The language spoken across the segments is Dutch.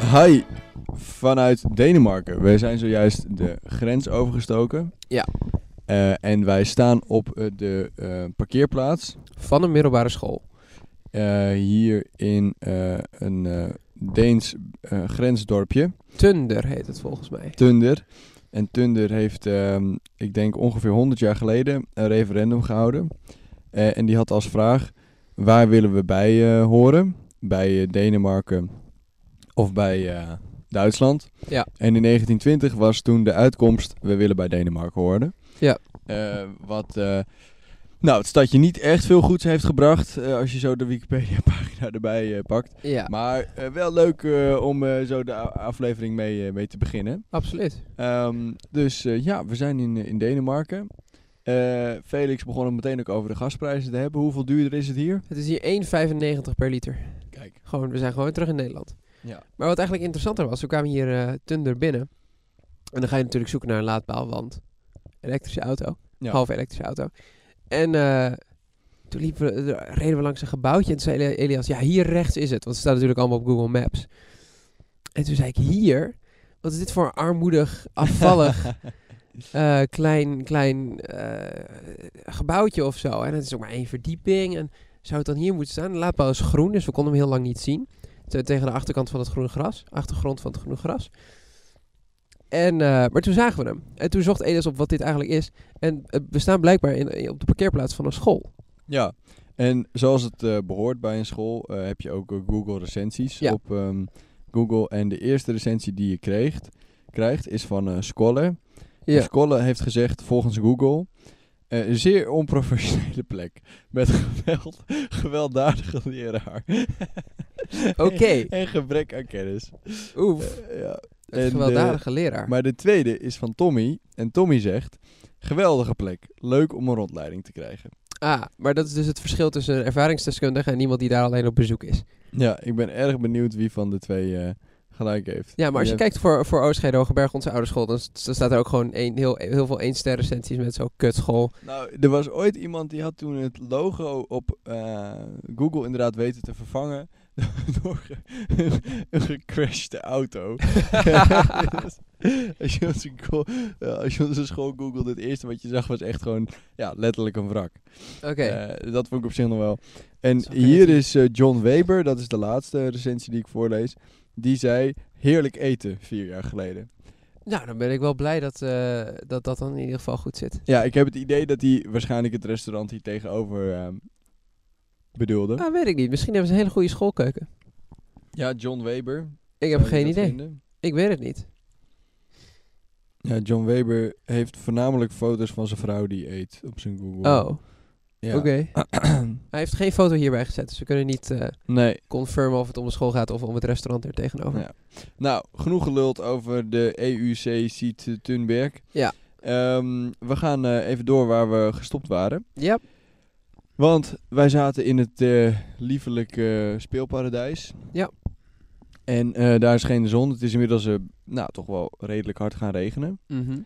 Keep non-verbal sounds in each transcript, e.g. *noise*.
Hi, vanuit Denemarken. Wij zijn zojuist de grens overgestoken. Ja. Eh, en wij staan op eh, de eh, parkeerplaats Van een middelbare school. eh, hier in eh, een eh, Deens eh, grensdorpje, Tunder heet het volgens mij. Tunder. En Tunder heeft, ehm, ik denk ongeveer 100 jaar geleden, een referendum gehouden. Eh, en die had als vraag, waar willen we bij eh, horen? Bij eh, Denemarken of bij eh, Duitsland? Ja. En in 1920 was toen de uitkomst, we willen bij Denemarken horen. Ja. Eh, wat eh, nou, het stadje niet echt veel goeds heeft gebracht, eh, als je zo de Wikipedia-pagina erbij eh, pakt. Ja, Maar eh, wel leuk eh, om eh, zo de a- aflevering mee, eh, mee te beginnen. absoluut. Ehm, dus eh, ja, we zijn in, eh, in Denemarken. Eh, Felix begon het meteen ook over de gasprijzen te hebben. Hoeveel duurder is het hier? Het is hier 1,95 per liter. Kijk. Gewoon, we zijn gewoon weer terug in Nederland. Ja. Maar wat eigenlijk interessanter was, we kwamen hier eh, Tunder binnen. En dan ga je natuurlijk zoeken naar een laadpaal, want elektrische auto. Ja. Half elektrische auto. En eh, toen liepen we, eh, reden we langs een gebouwtje en toen zei Eli- Elias, ja hier rechts is het. Want het staat natuurlijk allemaal op Google Maps. En toen zei ik, hier? Wat is dit voor een armoedig, afvallig, *laughs* eh, klein, klein eh, gebouwtje of zo. En het is ook maar één verdieping. En zou het dan hier moeten staan? De laadpaal is groen, dus we konden hem heel lang niet zien. Te- Tegen de achterkant van het groene gras. Achtergrond van het groene gras. En, eh, maar toen zagen we hem. En toen zocht Elias op wat dit eigenlijk is. En eh, we staan blijkbaar in, in- op de parkeerplaats van een school. Ja, en zoals het eh, behoort bij een school eh, heb je ook eh, Google recensies Ja. op ehm, Google. En de eerste recensie die je kreeg, krijgt is van eh Scholle. Ja. Scholle heeft gezegd volgens Google... eh, een zeer onprofessionele plek. Met *laughs* geweld, gewelddadige leraar. *laughs* Oké. *laughs* en gebrek aan kennis. Oef. Eh, ja. Een en, eh, gewelddadige leraar. Maar de tweede is van Tommy. En Tommy zegt... Geweldige plek. Leuk om een rondleiding te krijgen. ah, maar dat is dus het verschil tussen een ervaringsdeskundige en iemand die daar alleen op bezoek is. Ja, ik ben erg benieuwd wie van de twee eh, gelijk heeft. Ja, maar als je hebt- kijkt voor, voor Oosterscheid Hogeberg, onze oude school, dan, s- dan staat er ook gewoon een, heel, heel veel één ster recensies met zo'n kutschool. Nou, er was ooit iemand die had toen het logo op eh, Google inderdaad weten te vervangen *laughs* door een- een gecrashte *laughs* auto. *laughs* Dus als, je onze go- ja, als je onze school googelde, het eerste wat je zag was echt gewoon ja, letterlijk een wrak. Oké. Eh, dat vond ik op zich nog wel. En Dat is wel hier creatief. is eh, John Weber, dat is de laatste recensie die ik voorlees. Die zei, heerlijk eten, vier jaar geleden. nou, dan ben ik wel blij dat, eh, dat dat dan in ieder geval goed zit. Ja, ik heb het idee dat hij waarschijnlijk het restaurant hier tegenover ehm, bedoelde. Ah, weet ik niet. Misschien hebben ze een hele goede schoolkeuken. Ja, John Weber. Ik heb geen idee. Ik weet het niet. Ja, John Weber heeft voornamelijk foto's van zijn vrouw die eet op zijn Google. Oh, Ja. oké. *clears throat* Hij heeft geen foto hierbij gezet, dus we kunnen niet eh Nee. confirmen of het om de school gaat of om het restaurant er tegenover. Ja. Nou, genoeg geluld over de EUC Siet Thunberg. Ja. Ehm, we gaan eh, even door waar we gestopt waren. Ja, Want wij zaten in het eh, liefelijke speelparadijs. Ja. En eh, daar is geen zon. Het is inmiddels eh, nou, toch wel redelijk hard gaan regenen. mhm.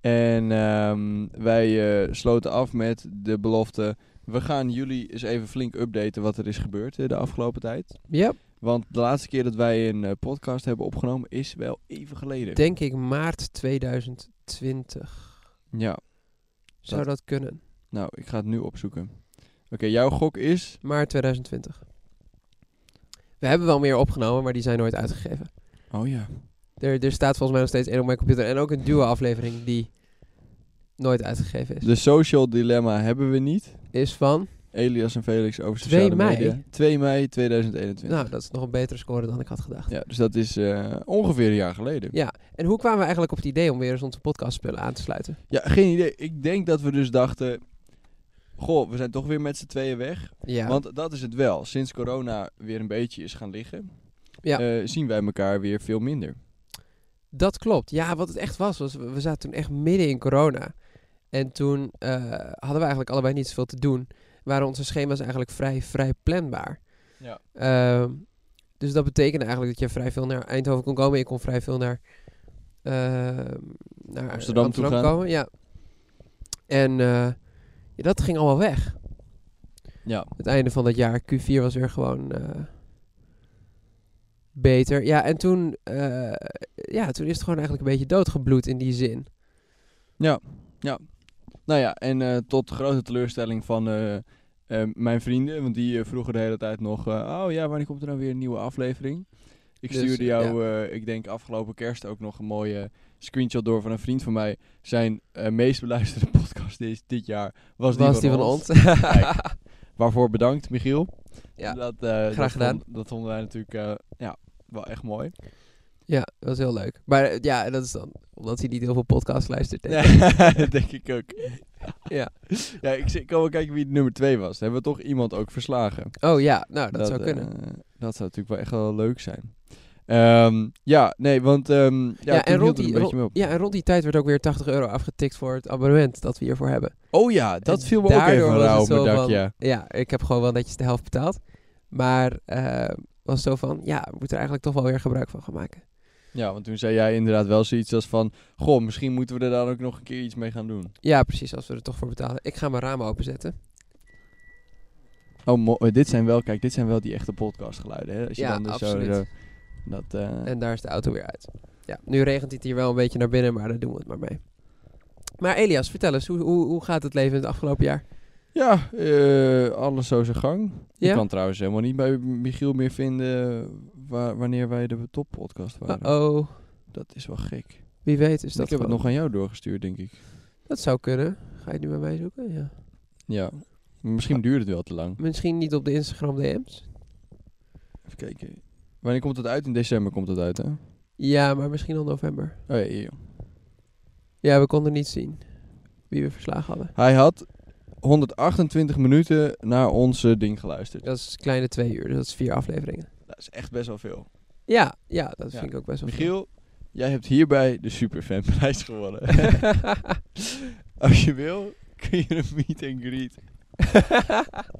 En ehm, wij eh, sloten af met de belofte... we gaan jullie eens even flink updaten wat er is gebeurd eh, de afgelopen tijd. ja Want de laatste keer dat wij een eh, podcast hebben opgenomen is wel even geleden. denk ik maart 2020. ja, Zou dat kunnen? nou, ik ga het nu opzoeken. Oké, jouw gok is... Maart 2020. We hebben wel meer opgenomen, maar die zijn nooit uitgegeven. Oh ja. Er, er staat volgens mij nog steeds één op mijn computer en ook een duo-aflevering die nooit uitgegeven is. De social dilemma hebben we niet. Is van, Elias en Felix over 2 sociale mei? media. 2 mei 2021. nou, dat is nog een betere score dan ik had gedacht. Ja, dus dat is eh, ongeveer een jaar geleden. Ja, en hoe kwamen we eigenlijk op het idee om weer eens onze podcastspullen aan te sluiten? Ja, geen idee. Ik denk dat we dus dachten... Goh, we zijn toch weer met z'n tweeën weg. Ja, Want dat is het wel. Sinds corona weer een beetje is gaan liggen... Ja. eh, zien wij elkaar weer veel minder. dat klopt. Ja, wat het echt was, was we we zaten toen echt midden in corona. En toen eh, hadden we eigenlijk allebei niet zoveel te doen. Waren onze schema's eigenlijk vrij, vrij planbaar. Ja. Ehm, dus dat betekende eigenlijk dat je vrij veel naar Eindhoven kon komen. Je kon vrij veel naar, ehm, naar Amsterdam Amsterdam, toe gaan. komen. Ja. En eh, ja, dat ging allemaal weg. Ja. Het einde van dat jaar, Q4 was weer gewoon eh, beter. Ja, en toen, eh, ja, toen is het gewoon eigenlijk een beetje doodgebloed in die zin. Ja, ja. Nou ja, en eh, tot grote teleurstelling van eh, eh, mijn vrienden, want die eh, vroegen de hele tijd nog, eh, oh ja, wanneer komt er nou weer een nieuwe aflevering? Ik Dus, stuurde jou, eh, ik denk afgelopen kerst ook nog een mooie screenshot door van een vriend van mij. Zijn eh, meest beluisterde *laughs* podcast dit, dit jaar was die, van, ons. *laughs* Kijk. Waarvoor bedankt, Michiel. Ja, dat, eh, dat vond- gedaan. dat vonden wij natuurlijk eh, ja, wel echt mooi. ja, dat was heel leuk. Maar eh, ja, dat is dan omdat hij niet heel veel podcasts luistert. denk ik. Ja, *laughs* dat denk ik ook. Ja. ja ik, zie- ik kan wel kijken wie de nummer 2 was. Dan hebben we toch iemand ook verslagen. Oh ja, nou, dat, zou kunnen. eh, dat zou natuurlijk wel echt wel leuk zijn. Ehm, ja, nee, want ehm, ja, ja, toen en hield het rond die, een rond- beetje mee op. ja, en rond die tijd werd ook weer 80 euro afgetikt voor het abonnement dat we hiervoor hebben. Oh ja, dat En viel me ook even daardoor was rauw op het mijn zo dak, van- ja. Ja, ik heb gewoon wel netjes de helft betaald. Maar eh, was zo van, ja, we moeten er eigenlijk toch wel weer gebruik van gaan maken. Ja, want toen zei jij inderdaad wel zoiets als van... Goh, misschien moeten we er dan ook nog een keer iets mee gaan doen. Ja, precies, als we er toch voor betalen. Ik ga mijn ramen openzetten. Oh, mo- eh, dit zijn wel, kijk, dit zijn wel die echte podcastgeluiden, hè. Als je Ja, dan dus zo- absoluut. zo... Dat, eh, En daar is de auto weer uit. Ja, nu regent het hier wel een beetje naar binnen, maar daar doen we het maar mee. Maar Elias, vertel eens, hoe, hoe, hoe gaat het leven in het afgelopen jaar? Ja, eh, alles zo zijn gang. Je Ja? kan trouwens helemaal niet bij Michiel meer vinden eh, wa- wanneer wij de toppodcast waren. Oh, Dat is wel gek. wie weet is dat ik heb het gewoon- nog aan jou doorgestuurd, denk ik. Dat zou kunnen. Ga je het nu bij mij zoeken? Ja. Ja. Ah. Misschien duurde het wel te lang. Misschien niet op de Instagram DM's. Even kijken. Wanneer komt het uit? In december komt het uit, hè? Ja, maar misschien al november. Oh ja, hier. Ja, we konden niet zien wie we verslagen hadden. Hij had 128 minuten naar onze ding geluisterd. Dat is kleine twee uur, dus dat is vier afleveringen. Dat is echt best wel veel. Ja, ja dat Ja. vind ik ook best wel veel. Michiel, jij hebt hierbij de superfanprijs gewonnen. *laughs* Als je wil, kun je een meet and greet. *laughs*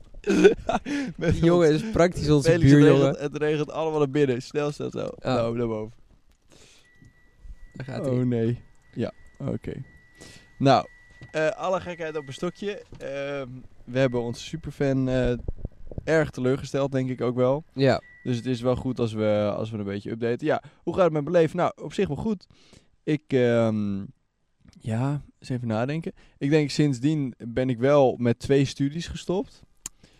Met Die jongen is praktisch onze Felix, het buurjongen. regent, het regent allemaal naar binnen. Snel, snel, snel. Nou, naar boven. *laughs* Daar gaat hij. Oh nee. Ja, oké. Nou, eh, alle gekheid op een stokje. Ehm, we hebben onze superfan eh, erg teleurgesteld, denk ik ook wel. Ja, Dus het is wel goed als we, als we een beetje updaten. Ja, hoe gaat het met mijn leven? Nou, op zich wel goed. Ik, ehm, ja, eens even nadenken. Ik denk sindsdien ben ik wel met twee studies gestopt.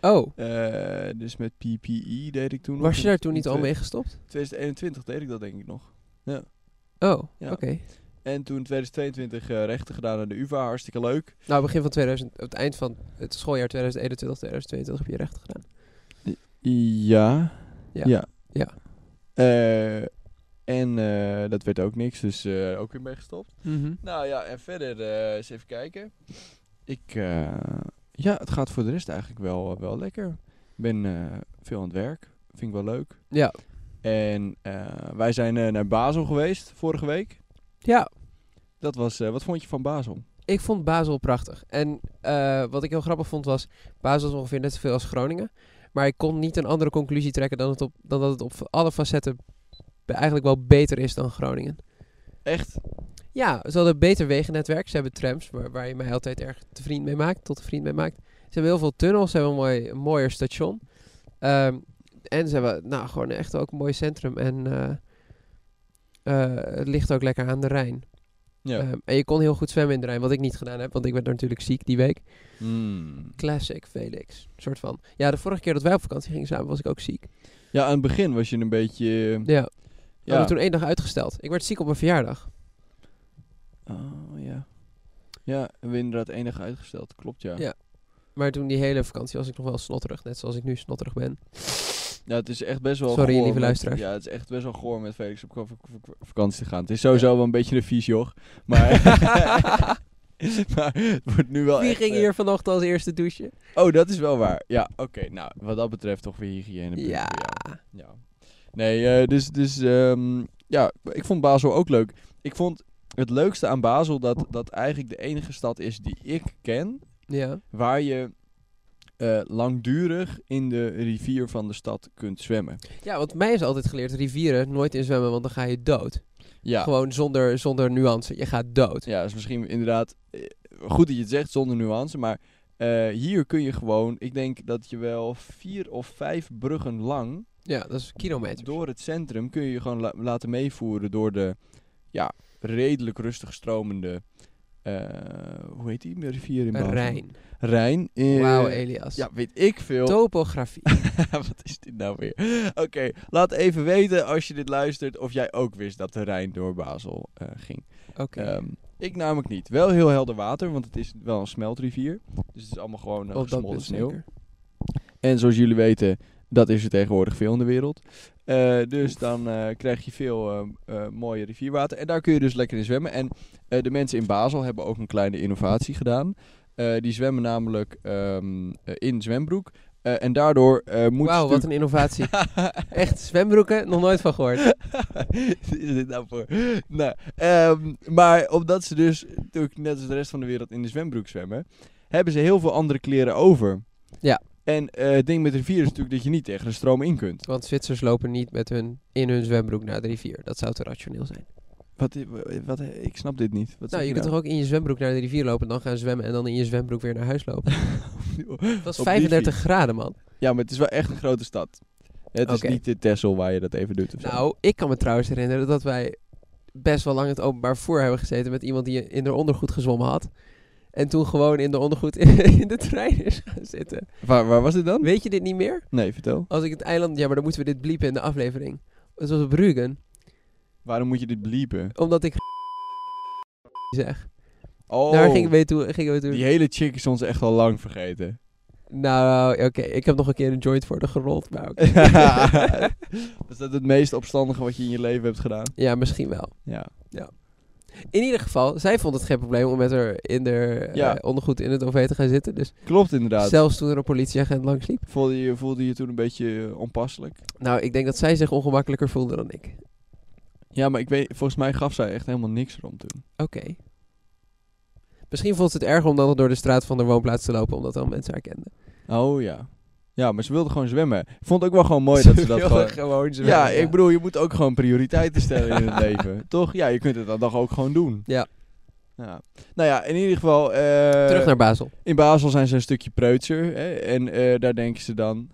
oh, Eh, dus met PPE deed ik toen nog. was je daar toen In niet al twe- mee gestopt? 2021 deed ik dat denk ik nog. Oh, Ja. oké. En toen 2022 eh, rechten gedaan aan de UvA, hartstikke leuk. Nou, begin van 2000, het eind van het schooljaar 2021, 2022 heb je recht gedaan. Ja. Ja. Ja. Ja. Eh, en eh, dat werd ook niks, dus eh, ook weer mee gestopt. Nou ja, en verder eh, eens even kijken. Ik, eh, ja, het gaat voor de rest eigenlijk wel, eh, wel lekker. Ik ben eh, veel aan het werk, vind ik wel leuk. Ja. En eh, wij zijn eh, naar Basel geweest vorige week. Ja, Dat was, eh, wat vond je van Basel? ik vond Basel prachtig. En eh, wat ik heel grappig vond was, Basel is ongeveer net zoveel als Groningen. Maar ik kon niet een andere conclusie trekken dan, het op, dan dat het op alle facetten be- eigenlijk wel beter is dan Groningen. Echt? Ja, ze hadden een beter wegennetwerk. Ze hebben trams, waar, waar je mij altijd erg te vriend mee maakt, tot een vriend mee maakt. Ze hebben heel veel tunnels, ze hebben een, mooi, een mooier station. Ehm, en ze hebben nou, gewoon echt ook een mooi centrum. En eh, eh, het ligt ook lekker aan de Rijn. Ja. Ehm, en je kon heel goed zwemmen in de Rijn, wat ik niet gedaan heb, want ik werd natuurlijk ziek die week. Hmm. Classic Felix, soort van. Ja, de vorige keer dat wij op vakantie gingen samen was ik ook ziek. Ja, aan het begin was je een beetje... eh, Ja, we ja. hadden Oh, toen één dag uitgesteld. Ik werd ziek op mijn verjaardag. Oh, ja. Ja, we hebben inderdaad enig uitgesteld. Klopt, ja. Ja. Maar toen die hele vakantie was ik nog wel snotterig, net zoals ik nu snotterig ben. *laughs* *laughs* Ja, het is echt best wel Sorry, goor lieve met- luisteraars. Ja, het is echt best wel goor met Felix op vak- vak- vakantie te gaan. Het is sowieso wel een beetje een vies joch. *laughs* Maar, maar het wordt nu wel Wie echt, ging eh, hier vanochtend als eerste douchen? Oh, dat is wel waar. Ja, oké. nou, wat dat betreft toch weer hygiëne. punt Ja. voor jou. ja. Nee, eh, dus, dus ehm, ja, ik vond Basel ook leuk. Ik vond het leukste aan Basel dat dat eigenlijk de enige stad is die ik ken Ja. waar je eh, langdurig in de rivier van de stad kunt zwemmen. Ja, want mij is altijd geleerd rivieren nooit in zwemmen, want dan ga je dood. Ja, Gewoon zonder, zonder nuance. Je gaat dood. ja dat is misschien inderdaad eh, goed dat je het zegt zonder nuance, maar eh, hier kun je gewoon, ik denk dat je wel vier of vijf bruggen lang Ja, dat is kilometer. Door het centrum kun je je gewoon la- laten meevoeren door de ja, redelijk rustig stromende. eh, hoe heet die rivier in België? Rijn. Rijn. eh, Wauw, Elias. ja, weet ik veel. Topografie. Wat is dit nou weer? Oké, laat even weten als je dit luistert of jij ook wist dat de Rijn door Basel eh, ging. *laughs* Oké. Ehm, ik namelijk niet. Wel heel helder water, want het is wel een smeltrivier. Dus het is allemaal gewoon eh, Op Oh, dat gesmolten punt sneeuw. zeker. En zoals jullie weten, dat is er tegenwoordig veel in de wereld. Eh, dus Oef. dan eh, krijg je veel eh, eh, mooie rivierwater. En daar kun je dus lekker in zwemmen. En eh, de mensen in Basel hebben ook een kleine innovatie gedaan. Eh, die zwemmen namelijk ehm, eh, in zwembroek. Eh, en daardoor eh moet Wauw, wat een innovatie. *laughs* Echt, zwembroeken, nog nooit van gehoord. Wat *laughs* is dit nou voor? Nou, ehm, maar omdat ze dus natuurlijk net als de rest van de wereld in de zwembroek zwemmen, hebben ze heel veel andere kleren over. Ja. En eh, het ding met rivieren is natuurlijk dat je niet tegen de stroom in kunt. Want Zwitsers lopen niet met hun, in hun zwembroek naar de rivier. Dat zou te rationeel zijn. Wat, i- wa- wat, eh, ik snap dit niet. Wat zeg nou, je kunt toch ook in je zwembroek naar de rivier lopen, dan gaan zwemmen en dan in je zwembroek weer naar huis *laughs* lopen. nou? Dat was Op 35 graden, man. Ja, maar het is wel echt een grote stad. Het Oké. is niet de Texel waar je dat even doet of zo. Nou, ik kan me trouwens herinneren dat wij best wel lang in het openbaar vervoer hebben gezeten met iemand die in de ondergoed gezwommen had. En toen gewoon in de ondergoed *laughs* in de trein is gaan zitten. Waar, waar was dit dan? Weet je dit niet meer? Nee, vertel. Als ik het eiland... Ja, maar dan moeten we dit bliepen in de aflevering. Het was op Bruggen. Waarom moet je dit bliepen? Omdat ik... zeg. Oh, Daar gingen we toe... Gingen we toe die hele chick is ons echt al lang *laughs* vergeten. *laughs* Nou, oké. Ik heb nog een keer een joint voor de gerold. *laughs* Maar oké. is dat het meest opstandige wat je in je leven hebt gedaan? ja, misschien wel. Ja. In ieder geval, zij vond het geen probleem om met haar in de eh, Ja. ondergoed in het OV te gaan zitten. Dus Klopt inderdaad. zelfs toen er een politieagent langs liep. Voelde, je, voelde je toen een beetje eh, onpasselijk? Nou, ik denk dat zij zich ongemakkelijker voelde dan ik. Ja, maar ik weet, volgens mij gaf zij echt helemaal niks erom toen. Oké. Misschien vond ze het erger om dan nog door de straat van de woonplaats te lopen, omdat dan mensen haar kenden. Oh ja. Ja, maar ze wilde gewoon zwemmen. Ik vond het ook wel gewoon mooi dat ze *laughs* dat wilde gewoon... gewoon zo Ja, ik bedoel, je moet ook gewoon prioriteiten stellen in het *laughs* leven. Toch? Ja, je kunt het dan toch ook gewoon doen. Ja. Ja. Nou ja, in ieder geval... eh, Terug naar Basel. In Basel zijn ze een stukje preutser. Hè, en eh, daar denken ze dan...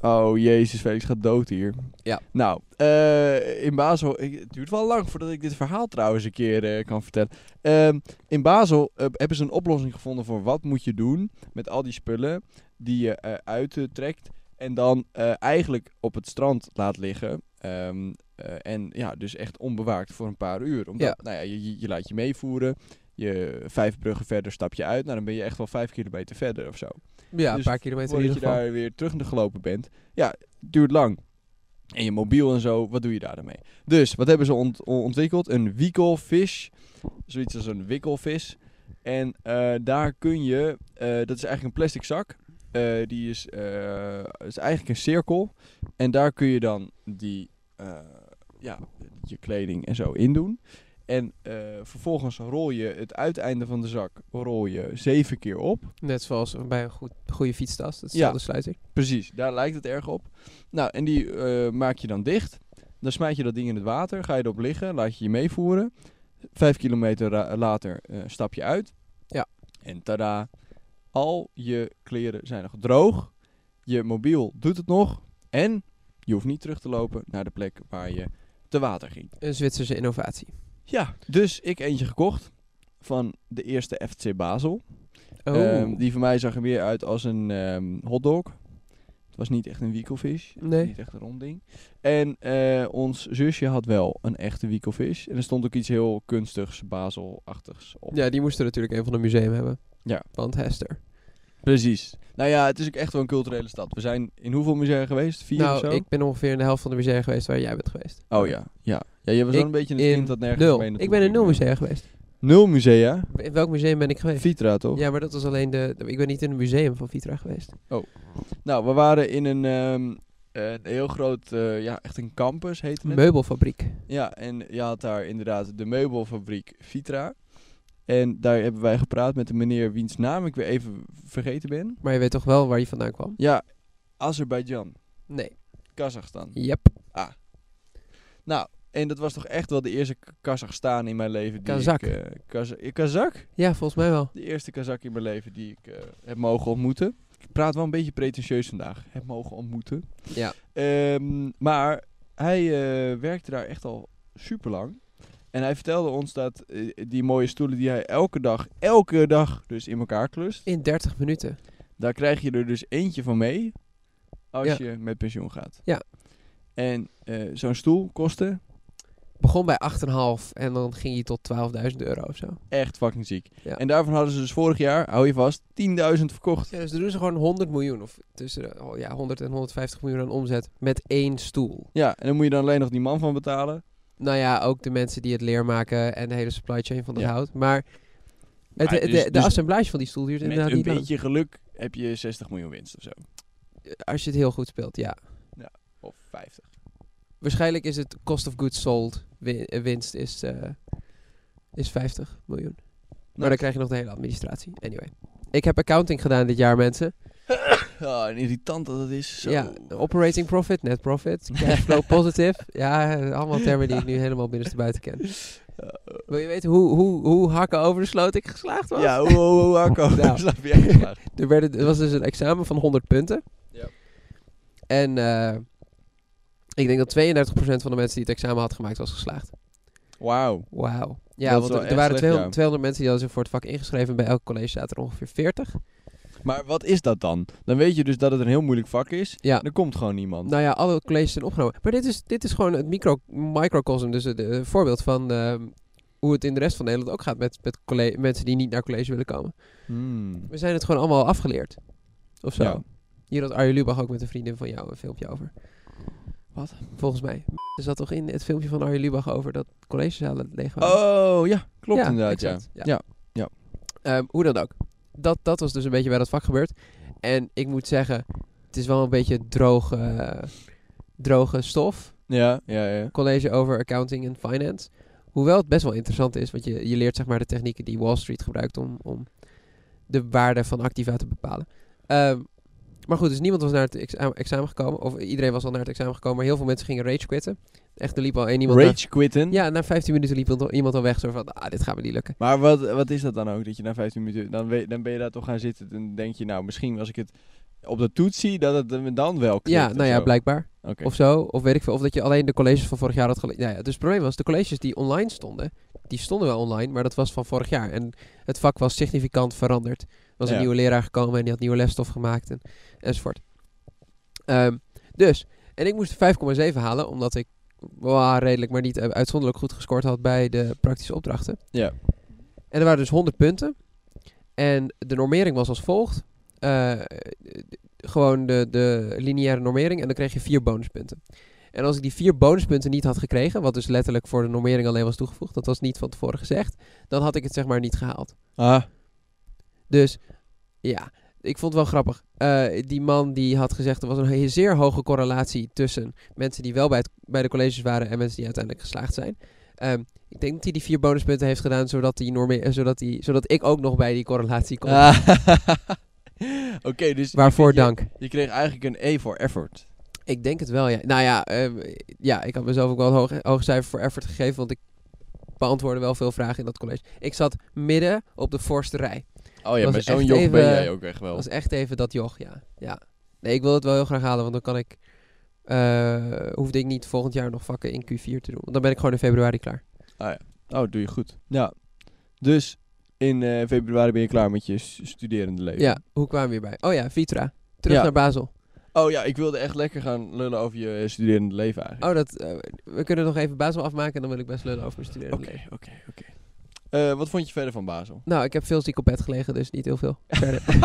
Oh, jezus, Felix gaat dood hier. Ja. Nou, eh, in Basel... ik- het duurt wel lang voordat ik dit verhaal trouwens een keer eh, kan vertellen. Ehm, in Basel eh, hebben ze een oplossing gevonden voor wat moet je doen met al die spullen die je eh, uit eh, trekt. En dan eh, eigenlijk op het strand laat liggen. Ehm, eh, en ja, dus echt onbewaakt voor een paar uur. Omdat, Ja. nou ja, je, je- je laat je meevoeren. Je vijf bruggen verder stap je uit. Nou, dan ben je echt wel vijf kilometer verder of zo. Ja, dus een paar kilometer in Voordat ieder je geval. daar weer terug naar gelopen bent. Ja, duurt lang. En je mobiel en zo, wat doe je daar dan mee? Dus, wat hebben ze ont- on- ontwikkeld? Een wikkelvis. Zoiets als een wikkelvis. En eh, daar kun je, eh, dat is eigenlijk een plastic zak. Eh, die is, eh, is eigenlijk een cirkel. En daar kun je dan die, eh, ja, je kleding en zo in doen. En eh, vervolgens rol je het uiteinde van de zak rol je zeven keer op. Net zoals bij een goed, goede fietstas. Dat is Ja. ja. de sluiting. Precies, daar lijkt het erg op. Nou, en die eh, maak je dan dicht. Dan smijt je dat ding in het water, ga je erop liggen, laat je je meevoeren. Vijf kilometer ra- later eh, stap je uit. Ja. En tada, al je kleren zijn nog droog. Je mobiel doet het nog. En je hoeft niet terug te lopen naar de plek waar je te water ging. Een Zwitserse innovatie. Ja, dus ik eentje gekocht van de eerste FC Basel. Oh. Ehm, die van mij zag er meer uit als een ehm, hotdog. Het was niet echt een wiekelvis. Nee. Niet echt een rond ding. En eh, ons zusje had wel een echte wiekelvis. En er stond ook iets heel kunstigs, Baselachtigs op. Ja, die moesten natuurlijk een van de museum hebben. Ja. Want Hester. Precies. Nou ja, het is ook echt wel een culturele stad. We zijn in hoeveel musea geweest? Vier of zo? Nou, ik ben ongeveer in de helft van de musea geweest waar jij bent geweest. Oh ja, ja. Ja, je was wel Ik een beetje een in kind dat nergens Nul. mee naartoe Ik ben in ging. nul musea geweest. Nul musea? In welk museum ben ik geweest? Vitra toch? Ja, maar dat was alleen de... de- Ik ben niet in het museum van Vitra geweest. Nou, we waren in een, ehm, een heel groot, eh, ja, echt een campus Hm. heette het. Meubelfabriek. Ja, en je had daar inderdaad de meubelfabriek Vitra. En daar hebben wij gepraat met een meneer wiens naam ik weer even vergeten ben. Maar je weet toch wel waar je vandaan kwam? Ja, Azerbeidzjan, Nee. Kazachstan. Yep. Nou, en dat was toch echt wel de eerste K- Kazachstan in mijn leven. Die Kazak. Ik, eh, Kaz- eh, Kazak? Ja, volgens mij wel. De eerste Kazak in mijn leven die ik eh, heb mogen ontmoeten. ik praat wel een beetje pretentieus vandaag. Heb mogen ontmoeten. Ja. Ehm, maar hij eh, werkte daar echt al super lang. En hij vertelde ons dat eh, die mooie stoelen die hij elke dag, elke dag dus in elkaar klust. In 30 minuten. Daar krijg je er dus eentje van mee als Ja. je met pensioen gaat. Ja. En eh, zo'n stoel kostte Begon bij 8,5 en dan ging hij tot 12.000 euro of zo. echt fucking ziek. Ja. En daarvan hadden ze dus vorig jaar, hou je vast, 10.000 verkocht. Ja, dus dan doen ze gewoon 100 miljoen of tussen de, oh ja, 100 en 150 miljoen aan omzet met één stoel. Ja, en dan moet je dan alleen nog die man van betalen. Nou ja, ook de mensen die het leermaken en de hele supply chain van het Ja. hout. Maar het, Maar de, dus- de dus assemblage van die stoel duurt Met inderdaad een niet lang. beetje geluk heb je 60 miljoen winst of zo. Als je het heel goed speelt, ja. Of 50. Waarschijnlijk is het cost of goods sold wi- eh, winst is, eh, is 50 miljoen. Maar Nice. dan krijg je nog de hele administratie. Anyway. Ik heb accounting gedaan dit jaar, mensen. Oh, en irritant dat het is. Zo. Ja, operating profit, net profit, cash *laughs* flow positive. Ja, eh, allemaal termen die ik nu helemaal binnenstebuiten ken. Wil je weten hoe, hoe, hoe hakken over de sloot ik geslaagd was? eh. Ja, hoe, hoe, *laughs* hoe, Arco? *laughs* Nou. Daar slaap je echt vandaag. Er, werden, er was dus een examen van 100 punten. Ja. En eh, ik denk dat 32% van de mensen die het examen had gemaakt was geslaagd. Wauw. Wauw. Ja, Dat is want wel er, er echt waren slecht, 200, ja. 200 mensen die hadden zich voor het vak ingeschreven. En bij elk college zaten er ongeveer 40. Maar wat is dat dan? Dan weet je dus dat het een heel moeilijk vak is. Ja. Er komt gewoon niemand. Nou ja, alle colleges zijn opgenomen. Maar dit is, dit is gewoon het micro, microcosm. Dus het eh, voorbeeld van ehm, hoe het in de rest van Nederland ook gaat met, met colle- mensen die niet naar college willen komen. Hmm. We zijn het gewoon allemaal afgeleerd. Of zo. Ja. Hier had Arjen Lubach ook met een vriendin van jou een filmpje over. Wat? Volgens mij. Er zat toch in het filmpje van Arjen Lubach over dat collegezalen leeg waren? Oh, ja. Klopt Ja, inderdaad, exact, ja. ja. Ja. Ehm, hoe dan ook. Dat, dat was dus een beetje bij dat vak gebeurd. En ik moet zeggen, het is wel een beetje droge, droge stof. Ja, ja, ja. College over accounting en finance. Hoewel het best wel interessant is, want je, je leert zeg maar de technieken die Wall Street gebruikt om, om de waarde van activa te bepalen. Ehm, maar goed, dus niemand was naar het exa- examen gekomen. Of iedereen was al naar het examen gekomen, maar heel veel mensen gingen rage quitten. Echt, er liep al één iemand. Rage quitten. na- eh, ja, na 15 minuten liep al- iemand al weg. Zo van, ah, dit gaat me niet lukken. Maar wat, wat is dat dan ook? Dat je na 15 minuten, dan, weet, dan ben je daar toch gaan zitten. Dan denk je, nou, misschien als ik het op de toets zie, dat het me dan wel klikt Ja, of nou ja, zo. blijkbaar. Oké. Of zo, of weet ik veel. Of dat je alleen de colleges van vorig jaar had gelezen. ja, dus het probleem was, de colleges die online stonden, die stonden wel online, maar dat was van vorig jaar. En het vak was significant veranderd. Er was Ja. een nieuwe leraar gekomen en die had nieuwe lesstof gemaakt en, enzovoort. Ehm, dus, en ik moest 5,7 halen, omdat ik wa, redelijk, maar niet eh, uitzonderlijk goed gescoord had bij de praktische opdrachten. Ja. En er waren dus 100 punten. En de normering was als volgt. Eh, gewoon de, de lineaire normering en dan kreeg je vier bonuspunten. En als ik die vier bonuspunten niet had gekregen, wat dus letterlijk voor de normering alleen was toegevoegd, dat was niet van tevoren gezegd, dan had ik het zeg maar niet gehaald. Ah, Dus ja, ik vond het wel grappig. Eh, die man die had gezegd, er was een he- zeer hoge correlatie tussen mensen die wel bij, het, bij de colleges waren en mensen die uiteindelijk geslaagd zijn. Ehm, ik denk dat hij die vier bonuspunten heeft gedaan, zodat, die norme- eh, zodat, die, zodat ik ook nog bij die correlatie kon. Ah, *laughs* Oké, dus... je- Waarvoor je- dank. Je kreeg eigenlijk een E voor effort. Ik denk het wel, ja. Nou ja, ehm, ja ik had mezelf ook wel een hoog, hoog cijfer voor effort gegeven, want ik beantwoordde wel veel vragen in dat college. Ik zat midden op de voorste rij. Oh ja, Was maar zo'n echt joch ben even- jij ook echt wel. Dat was echt even dat joch, ja. ja. Nee, ik wil het wel heel graag halen, want dan kan ik... eh, hoefde ik niet volgend jaar nog vakken in Q4 te doen. Want dan ben ik gewoon in februari klaar. Oh, doe je goed. Ja. Dus in eh, februari ben je klaar met je s- studerende leven. Ja, hoe kwamen we hierbij? Oh ja, Vitra. Terug Ja. naar Basel. Oh ja, ik wilde echt lekker gaan lullen over je eh, studerende leven eigenlijk. Oh, dat, eh, we kunnen nog even Basel afmaken en dan wil ik best lullen over mijn studeren. Oh, Oké, oké, oké. Eh, Wat vond je verder van Basel? Nou, ik heb veel ziek op bed gelegen, dus niet heel *laughs* veel. Verder. *laughs*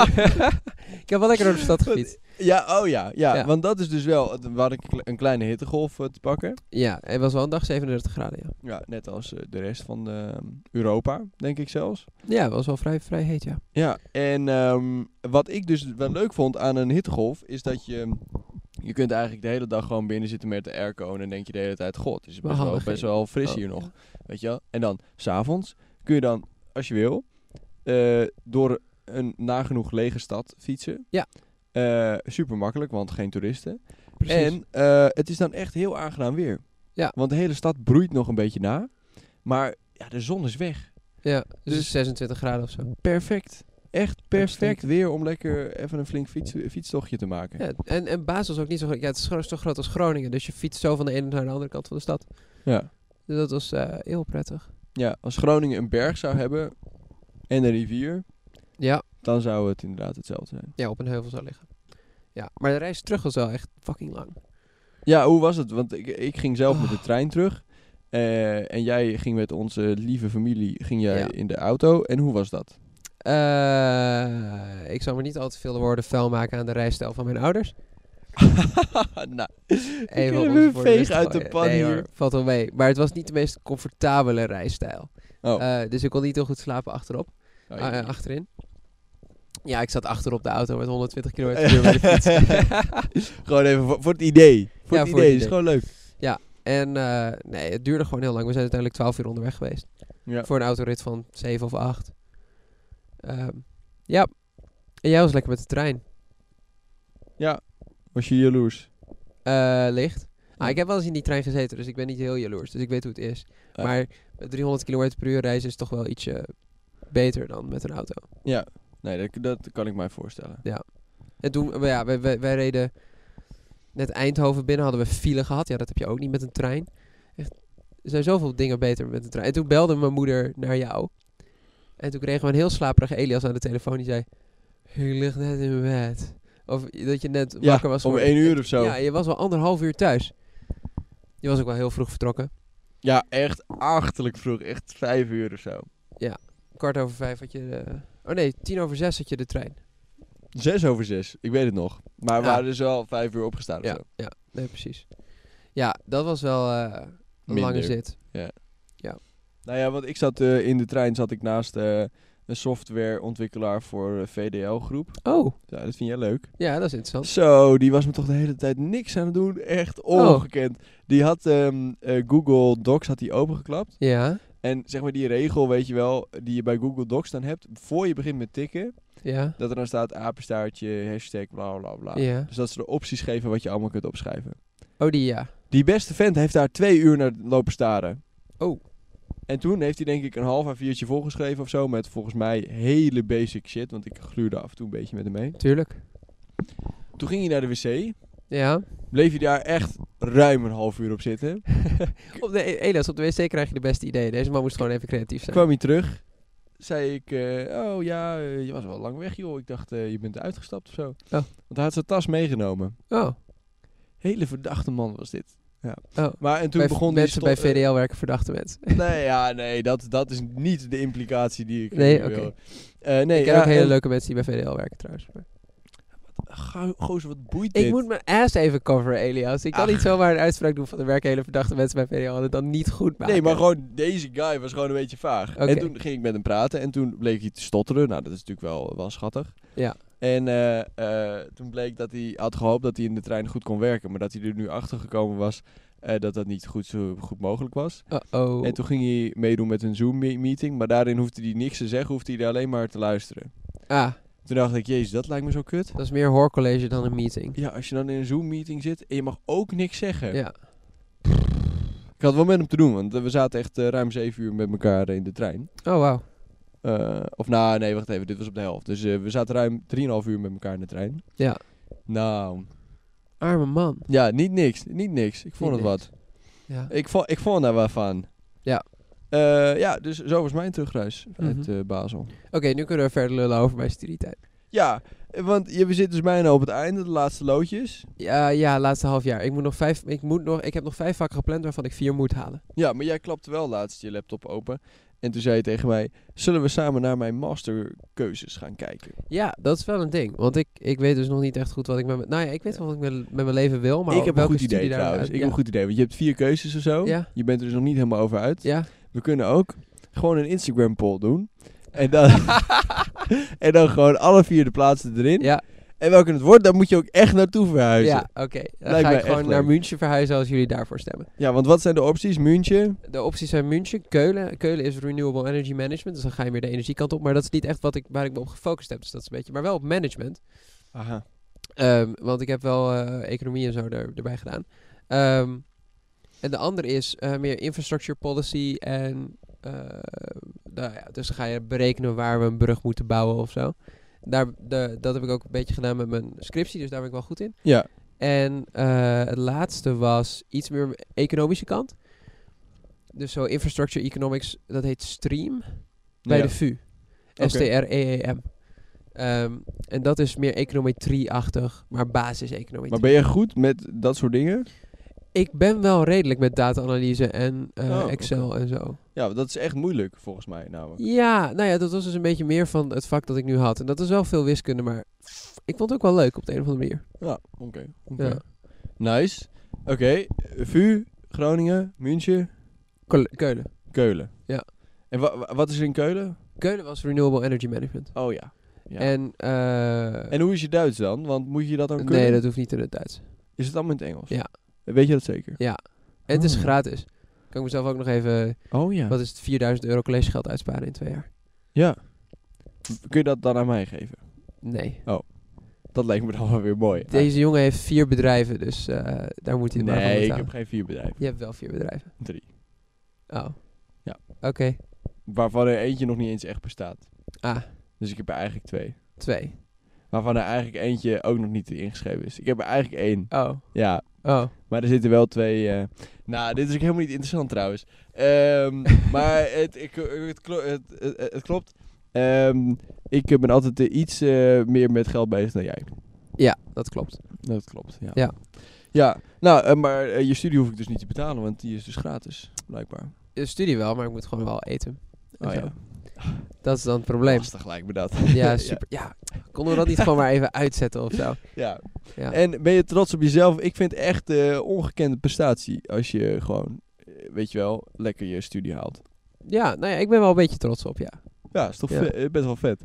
ik heb wel lekker door de stad gefietst. Ja, oh ja, ja, Ja. want dat is dus wel, het- we hadden een kle- een kleine hittegolf eh, te pakken. Ja, het was wel een dag 37 graden, ja. Ja, net als eh, de rest van eh, Europa, denk ik zelfs. Ja, het was wel vrij, vrij heet, ja. Ja, en ehm, wat ik dus wel leuk vond aan een hittegolf, is dat je... Je kunt eigenlijk de hele dag gewoon binnen zitten met de airco en dan denk je de hele tijd... God, het is Wel best wel, handig, best hè? wel fris Oh, hier nog, ja. weet je wel. En dan, s'avonds, kun je dan, als je wil, eh, door een nagenoeg lege stad fietsen. Eh, Ja. super makkelijk, want geen toeristen. Precies. En eh, het is dan echt heel aangenaam weer. Ja. Want de hele stad broeit nog een beetje na. Maar ja, de zon is weg. ja, dus, dus- 26 graden of zo. Perfect. echt perfect flink- weer om lekker even een flink fiets, fietstochtje te maken. Ja, en, en Basel is ook niet zo groot. Ja, het is, gro- is toch groot als Groningen. Dus je fietst zo van de ene naar de andere kant van de stad. Ja. Dus dat was eh, heel prettig. ja, als Groningen een berg zou hebben en een rivier, Ja. dan zou het inderdaad hetzelfde zijn. ja, op een heuvel zou liggen. Ja, maar de reis terug was wel echt fucking lang. Ja, hoe was het? Want ik, ik ging zelf met de trein terug. eh, en jij ging met onze lieve familie ging jij Ja. in de auto. En hoe was dat? Eh, ik zal me niet al te veel woorden vuil maken aan de reisstijl van mijn *laughs* ouders. *laughs* nou, Even kunnen om we ze voor de veeg rust te uit de gooien. pan Nee hoor, hier. valt wel mee. Maar het was niet de meest comfortabele reisstijl. oh, Eh, dus ik kon niet heel goed slapen achterop. oh, Ah, eh, achterin. Ja, ik zat achterop de auto met 120 km Ja. per uur bij de *laughs* fiets. *laughs* gewoon even voor, voor het idee. Voor Ja, het voor idee, het is idee. gewoon leuk. en eh, nee, het duurde gewoon heel lang. We zijn uiteindelijk 12 uur onderweg geweest. Ja. Voor een autorit van 7 of 8. ja. En jij was lekker met de trein. Was je jaloers? Eh, licht. Ah, ik heb wel eens in die trein gezeten, dus ik ben niet heel jaloers. Dus ik weet hoe het is. Eh. Maar met 300 km per uur reizen is toch wel ietsje beter dan met een auto. Ja, nee, dat, dat kan ik mij voorstellen. En toen, maar ja, wij, wij, wij reden net Eindhoven binnen, hadden we file gehad. Ja, dat heb je ook niet met een trein. Echt, er zijn zoveel dingen beter met een trein. En toen belde mijn moeder naar jou. En toen kregen we een heel slaperige Elias aan de telefoon. Die zei, ik lig net in bed. Of dat je net Ja, wakker was. om geworden. één uur of zo. Ja, je was wel anderhalf uur thuis. Je was ook wel heel vroeg vertrokken. Ja, echt achterlijk vroeg. Echt vijf uur of zo. Kwart over vijf had je... de- oh nee, tien over zes had je de trein. Zes over zes, ik weet het nog. Maar we Ja. waren dus wel vijf uur opgestaan of Ja, zo. ja, nee, precies. Ja, dat was wel eh, een lange Minder. zit. Nou ja, want ik zat eh, in de trein zat ik naast eh, een softwareontwikkelaar voor eh, VDL groep. Oh, Ja, dat vind jij leuk. ja, dat is interessant. Zo, die was me toch de hele tijd niks aan het doen. Echt Oh. ongekend. Die had ehm, eh, Google Docs had die opengeklapt. *laughs* Ja, En zeg maar die regel, weet je wel, die je bij Google Docs dan hebt. Voor je begint met tikken, ja, dat er dan staat apenstaartje, hashtag, bla bla bla. ja. Dus dat ze de opties geven wat je allemaal kunt opschrijven. Oh, die ja. Die beste vent heeft daar twee uur naar lopen staren. Oh. En toen heeft hij denk ik een half A4'tje volgeschreven of zo. Met volgens mij hele basic shit. Want ik gluurde af en toe een beetje met hem mee. Tuurlijk. Toen ging hij naar de wc. Ja. Bleef hij daar echt ruim een half uur op *laughs* zitten. Op de, Elias, op de wc krijg je de beste ideeën. Deze man moest gewoon even creatief zijn. Kwam hij terug. Zei ik, eh, oh ja, eh, je was wel lang weg joh. Ik dacht, eh, je bent uitgestapt of zo. Want hij had zijn tas meegenomen. Oh, Hele verdachte man was dit. Ja. Oh. Maar en toen bij v- begon die mensen bij sto- eh, VDL werken verdachte mensen. Nee, ja, nee, dat, dat is niet de implicatie die ik Nee, eh, oké. wil. Eh, nee, ik ken ja, ook hele en- leuke mensen die bij VDL werken trouwens. maar- Go- Gozer, wat boeit dit? Ik moet mijn ass even coveren, Elias. Ik kan Ach. niet zomaar een uitspraak doen van er werken hele verdachte mensen bij VDL en het dan niet goed maken. nee, maar gewoon deze guy was gewoon een beetje vaag. Oké. En toen ging ik met hem praten en toen bleek hij te stotteren. Nou, dat is natuurlijk wel, wel schattig. Ja. En eh, eh, toen bleek dat hij had gehoopt dat hij in de trein goed kon werken. Maar dat hij er nu achter gekomen was eh, dat dat niet goed, zo goed mogelijk was. Uh-oh. En toen ging hij meedoen met een Zoom-meeting. Maar daarin hoefde hij niks te zeggen, hoefde hij alleen maar te luisteren. Ah, Toen dacht ik, jezus, dat lijkt me zo kut. dat is meer hoorcollege dan een meeting. Ja, als je dan in een Zoom-meeting zit en je mag ook niks zeggen. Ja. Ik had wel met hem te doen, want eh, we zaten echt eh, ruim zeven uur met elkaar in de trein. Oh, wauw. Eh, of nou, nee, wacht even, dit was op de helft. Dus eh, we zaten ruim 3,5 uur met elkaar in de trein. Ja. Nou, Arme man. ja, niet niks, niet niks. Ik vond Niet het niks. wat. Ja. Ik vond, ik vond daar wat van. Ja. Eh, ja, dus zo was mijn terugreis uit Mhm. eh, Basel. Oké, nu kunnen we verder lullen over mijn studietijd. Ja, eh, want je, we zitten dus bijna op het einde, de laatste loodjes. Ja, ja, laatste half jaar. Ik moet nog vijf. Ik moet nog. Ik heb nog vijf vakken gepland waarvan ik vier moet halen. Ja, maar jij klapte wel laatst je laptop open. En toen zei je tegen mij, zullen we samen naar mijn masterkeuzes gaan kijken? Ja, dat is wel een ding. Want ik, ik weet dus nog niet echt goed wat ik met. mijn- Nou ja, ik weet wel wat ik met, met mijn leven wil, maar ik heb een welke goed idee studie daar trouwens. Ik uit- heb een goed idee, want je hebt vier keuzes of zo. Ja. Je bent er dus nog niet helemaal over uit. Ja. We kunnen ook gewoon een Instagram poll doen. En *laughs* dan, en dan gewoon alle vier de plaatsen erin. Ja, En welke het wordt, daar moet je ook echt naartoe ja, verhuizen. ja Ja. oké. Dan Lijkt mij ga ik echt gewoon naar leuk. München verhuizen als jullie daarvoor stemmen. want wat zijn de opties? München? De opties zijn München, Keulen. Keulen is renewable energy management, dus dan ga je meer de energiekant op. Maar dat is niet echt wat ik, waar ik me op gefocust heb, dus dat is een beetje. Maar wel op management. Aha. Ehm, want ik heb wel eh, economie en zo er, erbij gedaan. Ehm, en de andere is eh, meer infrastructure policy en eh, nou ja, dus dan ga je berekenen waar we een brug moeten bouwen of zo. Daar, de, dat heb ik ook een beetje gedaan met mijn scriptie, dus daar ben ik wel goed in. Ja. En eh, het laatste was iets meer economische kant. Dus zo infrastructure economics, dat heet STREAM bij Ja. de VU. Oké. S-T-R-E-E-M. E Ehm, en dat is meer econometrie-achtig, maar basis-econometrie. Maar ben je goed met dat soort dingen? Ik ben wel redelijk met data-analyse en eh, Oh, oké. Excel en zo. Ja, dat is echt moeilijk volgens mij namelijk. Ja, nou ja, dat was dus een beetje meer van het vak dat ik nu had. En dat is wel veel wiskunde, maar ik vond het ook wel leuk op de een of andere manier. Ja, oké. oké. Ja. Nice. Oké, VU, Groningen, München, Keul- Keulen. Keulen. Ja. En wa- wa- wat is er in Keulen? Keulen was Renewable Energy Management. Oh ja. ja. En, En, eh, hoe is je Duits dan? Want moet je dat dan kunnen? nee, dat hoeft niet in het Duits. Is het allemaal in het Engels? Ja. Weet je dat zeker? En het is Oh. gratis. Kan ik mezelf ook nog even, Oh ja. wat is het, 4000 euro collegegeld uitsparen in twee jaar? Ja. Kun je dat dan aan mij geven? Nee. Dat lijkt me dan wel weer mooi. Deze jongen heeft vier bedrijven, dus eh, daar moet hij Ah, het maar van nee, ik heb betalen. geen vier bedrijven. Je hebt wel vier bedrijven. Drie. Oh. Ja. Oké, Waarvan er eentje nog niet eens echt bestaat. Ah. Dus ik heb er eigenlijk twee. twee. Waarvan er eigenlijk eentje ook nog niet ingeschreven is. Ik heb er eigenlijk één. Oh. Ja, Oh. Maar er zitten wel twee. eh, nou, dit is ook helemaal niet interessant trouwens. *laughs* Ehm, maar het, ik, het, klo- het, het, het klopt. Ehm, ik eh, ben altijd eh, iets eh, meer met geld bezig dan jij. Ja, dat klopt. Dat klopt. Ja. Ja. Ja, nou, eh, maar eh, je studie hoef ik dus niet te betalen, want die is dus gratis, blijkbaar. De studie wel, maar ik moet gewoon wel eten. En Oh zo. ja, Dat is dan het probleem. lastig lijkt me dat. *laughs* Ja, super. Ja. Konden we dat niet gewoon maar even uitzetten of zo? Ja. Ja. En ben je trots op jezelf? Ik vind het echt eh ongekende prestatie als je gewoon, eh, weet je wel, lekker je studie haalt. Ja, nou ja, ik ben wel een beetje trots op, ja. Ja, is toch Ja. ve- eh, best wel vet.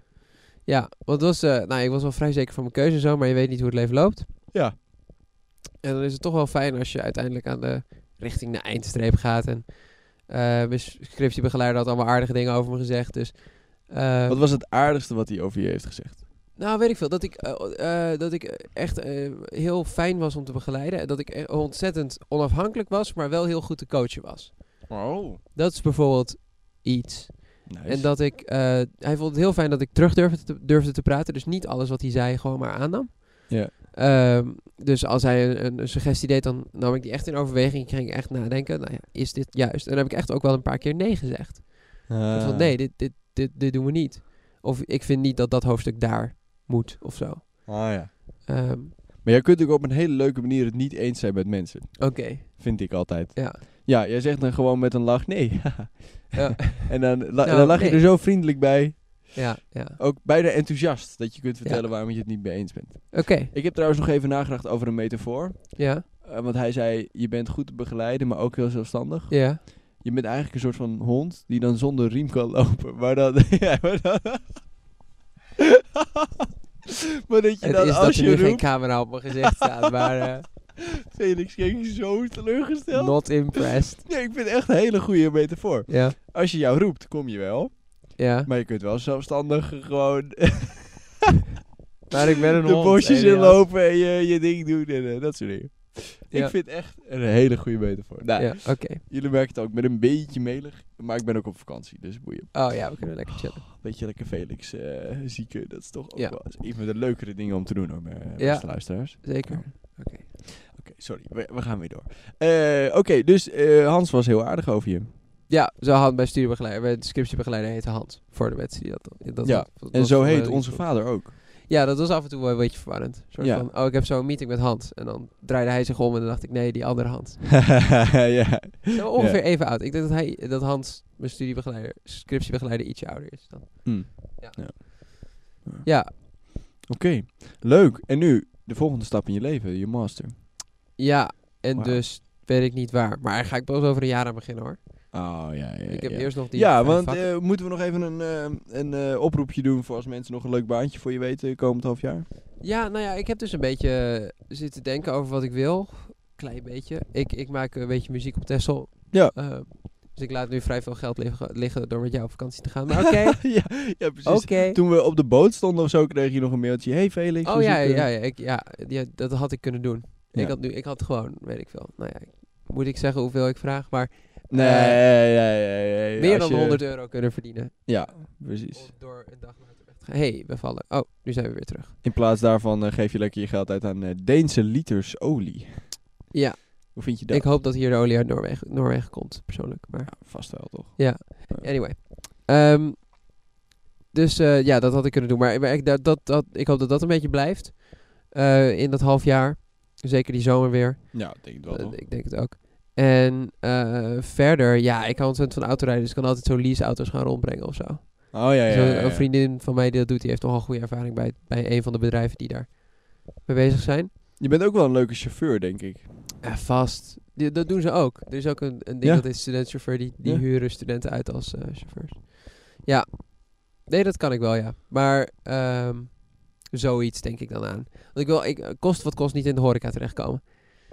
Ja, want het was, eh, nou, ik was wel vrij zeker van mijn keuze en zo, maar je weet niet hoe het leven loopt. Ja. En dan is het toch wel fijn als je uiteindelijk aan de, richting de eindstreep gaat. En eh mijn scriptiebegeleider had allemaal aardige dingen over me gezegd. Dus, eh, Wat was het aardigste wat hij over je heeft gezegd? nou, weet ik veel. Dat ik, eh, eh, dat ik echt eh, heel fijn was om te begeleiden. En dat ik eh, ontzettend onafhankelijk was, maar wel heel goed te coachen was. Oh. Dat is bijvoorbeeld iets. Nice. En dat ik, eh, hij vond het heel fijn dat ik terug durfde te, durfde te praten. Dus niet alles wat hij zei gewoon maar aannam. Ja. Ehm, dus als hij een- een, een suggestie deed, dan nam ik die echt in overweging. Ging ik echt nadenken, nou ja, is dit juist? En dan heb ik echt ook wel een paar keer nee gezegd. Ik Eh, Ah. vond, nee, dit, dit, dit, dit doen we niet. Of ik vind niet dat dat hoofdstuk daar moet, of zo. Ah, ja. Ehm, Maar jij kunt ook op een hele leuke manier het niet eens zijn met mensen. Oké, Vind ik altijd. ja. Ja, jij zegt dan gewoon met een lach nee. *laughs* haha. Ja. en dan, la- Nou, dan lach nee. je er zo vriendelijk bij. Ja, ja. Ook bijna enthousiast dat je kunt vertellen Ja. waarom je het niet mee eens bent. Oké, Ik heb trouwens nog even nagedacht over een metafoor. ja, Eh, want hij zei, je bent goed te begeleiden, maar ook heel zelfstandig. ja. Je bent eigenlijk een soort van hond die dan zonder riem kan lopen. Maar dan... *laughs* ja, maar, dan maar dat je Het dan is dat als er je nu geen roept... camera op mijn gezicht staat, *laughs* maar eh, Felix keek zo teleurgesteld. not impressed. Nee, ik vind het echt een hele goede metafoor. Ja, Als je jou roept, kom je wel. ja. Maar je kunt wel zelfstandig *laughs* gewoon Maar ik ben een de bosjes inlopen en je, je ding doen en eh, dat soort dingen. Ja. Ik vind het echt een hele goede metafoor. Nou, Ja, oké. jullie merken het ook. Ik ben een beetje melig, maar ik ben ook op vakantie, dus boeien. Oh ja, we kunnen lekker chillen. Weet je, lekker Felix eh zieke, dat is toch ook Ja. wel eens een van de leukere dingen om te doen, hoor, eh, beste Ja. luisteraars. Zeker. Oké. Oké, sorry, we, we gaan weer door. Eh, Oké, dus eh, Hans was heel aardig over je. Ja, zo had bij studiebegeleider, bij de scriptiebegeleider heette Hans. Voor de mensen die dat... dat Ja, dat- dat En was zo voor mij heet niet onze goed. vader ook. *laughs* Ja, dat was af en toe wel een beetje verwarrend. Een Soort Ja. van, oh, ik heb zo'n meeting met Hans. En dan draaide hij zich om en dan dacht ik, nee, die andere Hans. ja, Zo ongeveer even oud. Ik denk dat, hij, dat Hans, mijn studiebegeleider, scriptiebegeleider, ietsje ouder is dan. Hmm. Ja. Ja. Ja. ja. Ja. Oké, leuk. En nu de volgende stap in je leven, je master. en Wauw. dus weet ik niet waar. Maar daar ga ik pas over een jaar aan beginnen hoor. Oh ja, ja. Ik heb ja. eerst nog die... ja, vijf want vakken. eh, moeten we nog even een, eh, een eh, oproepje doen voor als mensen nog een leuk baantje voor je weten komend half jaar? Ja, nou ja, ik heb dus een beetje eh, zitten denken over wat ik wil. Klein beetje. Ik, ik maak een beetje muziek op Tessel. Ja. dus ik laat nu vrij veel geld liggen, liggen door met jou op vakantie te gaan. *laughs* Maar oké, ja, ja, precies. oké. Toen we op de boot stonden of zo, kreeg je nog een mailtje. Hey Felix. Oh we ja, zoeken- ja, ja, ik, ja, ja, dat had ik kunnen doen. eh, Ja. Ik, had nu, ik had gewoon, weet ik veel. Nou ja, ik- moet ik zeggen hoeveel ik vraag, maar Nee, nee, nee, nee, nee, meer meer Eh, als dan je- 100 euro kunnen verdienen. Ja, precies. Of door een dag naar te gaan. Hé, hey, we vallen. Oh, nu zijn we weer terug. In plaats daarvan eh, geef je lekker je geld uit aan eh, Deense liters olie. Ja, Hoe vind je dat? ik hoop dat hier de olie uit Noorwegen, Noorwegen komt, persoonlijk. Maar Ja, vast wel, toch? anyway. Ehm, dus eh, ja, dat had ik kunnen doen. Maar, maar ik, dat, dat, dat, ik hoop dat dat een beetje blijft eh, in dat half jaar. Zeker die zomer weer. Ja, ik denk het wel, Eh, toch? ik denk het ook. En eh, verder, ja, ik hou ontzettend van autorijden. Dus ik kan altijd zo leaseauto's gaan rondbrengen of zo. Oh, ja, ja, Zo'n- ja, ja. Een vriendin van mij die dat doet, die heeft nogal goede ervaring bij, bij een van de bedrijven die daar mee bezig zijn. Je bent ook wel een leuke chauffeur, denk ik. Ja, vast. Die- dat doen ze ook. Er is ook een, een ding Ja. dat is studentchauffeur, die, die Ja. huren studenten uit als eh, chauffeurs. Ja. Nee, dat kan ik wel, ja. Maar ehm, zoiets denk ik dan aan. Want ik wil, ik, kost wat kost, niet in de horeca terechtkomen.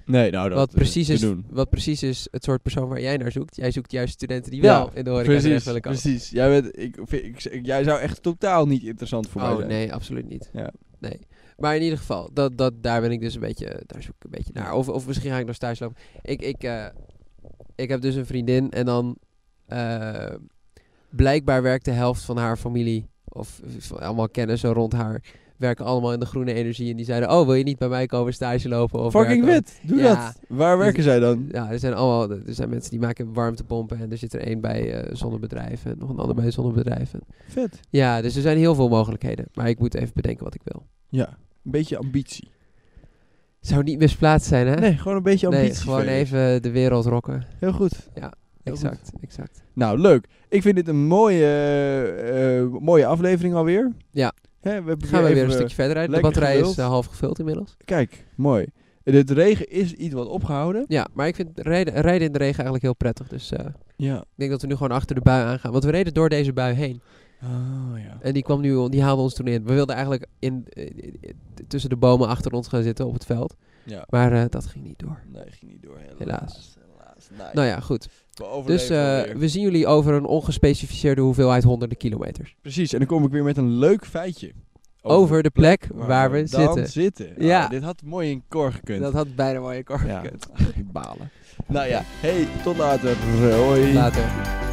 Nee, nou, dat wat, eh, precies te is, Oh, doen. wat precies is het soort persoon waar jij naar zoekt. Jij zoekt juist studenten die Ja, wel in de horeca terecht Precies, willen komen. precies. Jij, bent, ik, vind- ik, ik- jij zou echt totaal niet interessant voor mij oh zijn. nee, absoluut niet. Ja. Nee. Maar in ieder geval, dat, dat, daar ben ik dus een beetje, daar zoek ik een beetje naar. Of, of misschien ga ik nog thuis lopen. Ik, ik, eh, ik heb dus een vriendin en dan eh, blijkbaar werkt de helft van haar familie of van allemaal kennissen rond haar werken allemaal in de groene energie. En die zeiden, oh wil je niet bij mij komen stage lopen? Of Fucking werken? wit, doe Ja. Dus- dat. Waar werken zij dan? Ja, er zijn allemaal, er zijn mensen die maken warmtepompen en er zit er één bij eh, zonnebedrijven en nog een ander bij zonnebedrijven. Vet. Ja, dus er zijn heel veel mogelijkheden, maar ik moet even bedenken wat ik wil. Ja, een beetje ambitie. Zou niet misplaatst zijn, hè? Nee, gewoon een beetje Nee, ambitie. gewoon Felix. even de wereld rocken. Heel goed. Ja, Heel goed. Exact, exact. Nou, leuk. Ik vind dit een mooie, eh, eh, mooie aflevering alweer. Ja. Hè, we hebben Gaan we weer een even- eh, stukje verder uit. De lekker batterij is geduld. eh, half gevuld inmiddels. Kijk, mooi. Het regen is iets wat opgehouden. Ja, maar ik vind rijden, rijden in de regen eigenlijk heel prettig. Dus eh, Ja. ik denk dat we nu gewoon achter de bui aangaan. Want we reden door deze bui heen. Oh, ja. En die kwam nu, die haalde ons toen in. We wilden eigenlijk in, eh, eh, tussen de bomen achter ons gaan zitten op het veld. Ja. Maar eh, dat ging niet door. Nee, ging niet door. Helaas. Helaas. Helaas. Nee. Nou ja, goed. We Dus overleven eh, alweer. we zien jullie over een ongespecificeerde hoeveelheid honderden kilometers. Precies, en dan kom ik weer met een leuk feitje. Over, de plek waar, we dan zitten. zitten. Ah, Ja. dit had mooi in koor gekund. Dat had bijna *laughs* mooie korf Ja. gekund. Balen. Nou ja, hey, tot later. Hoi. Later.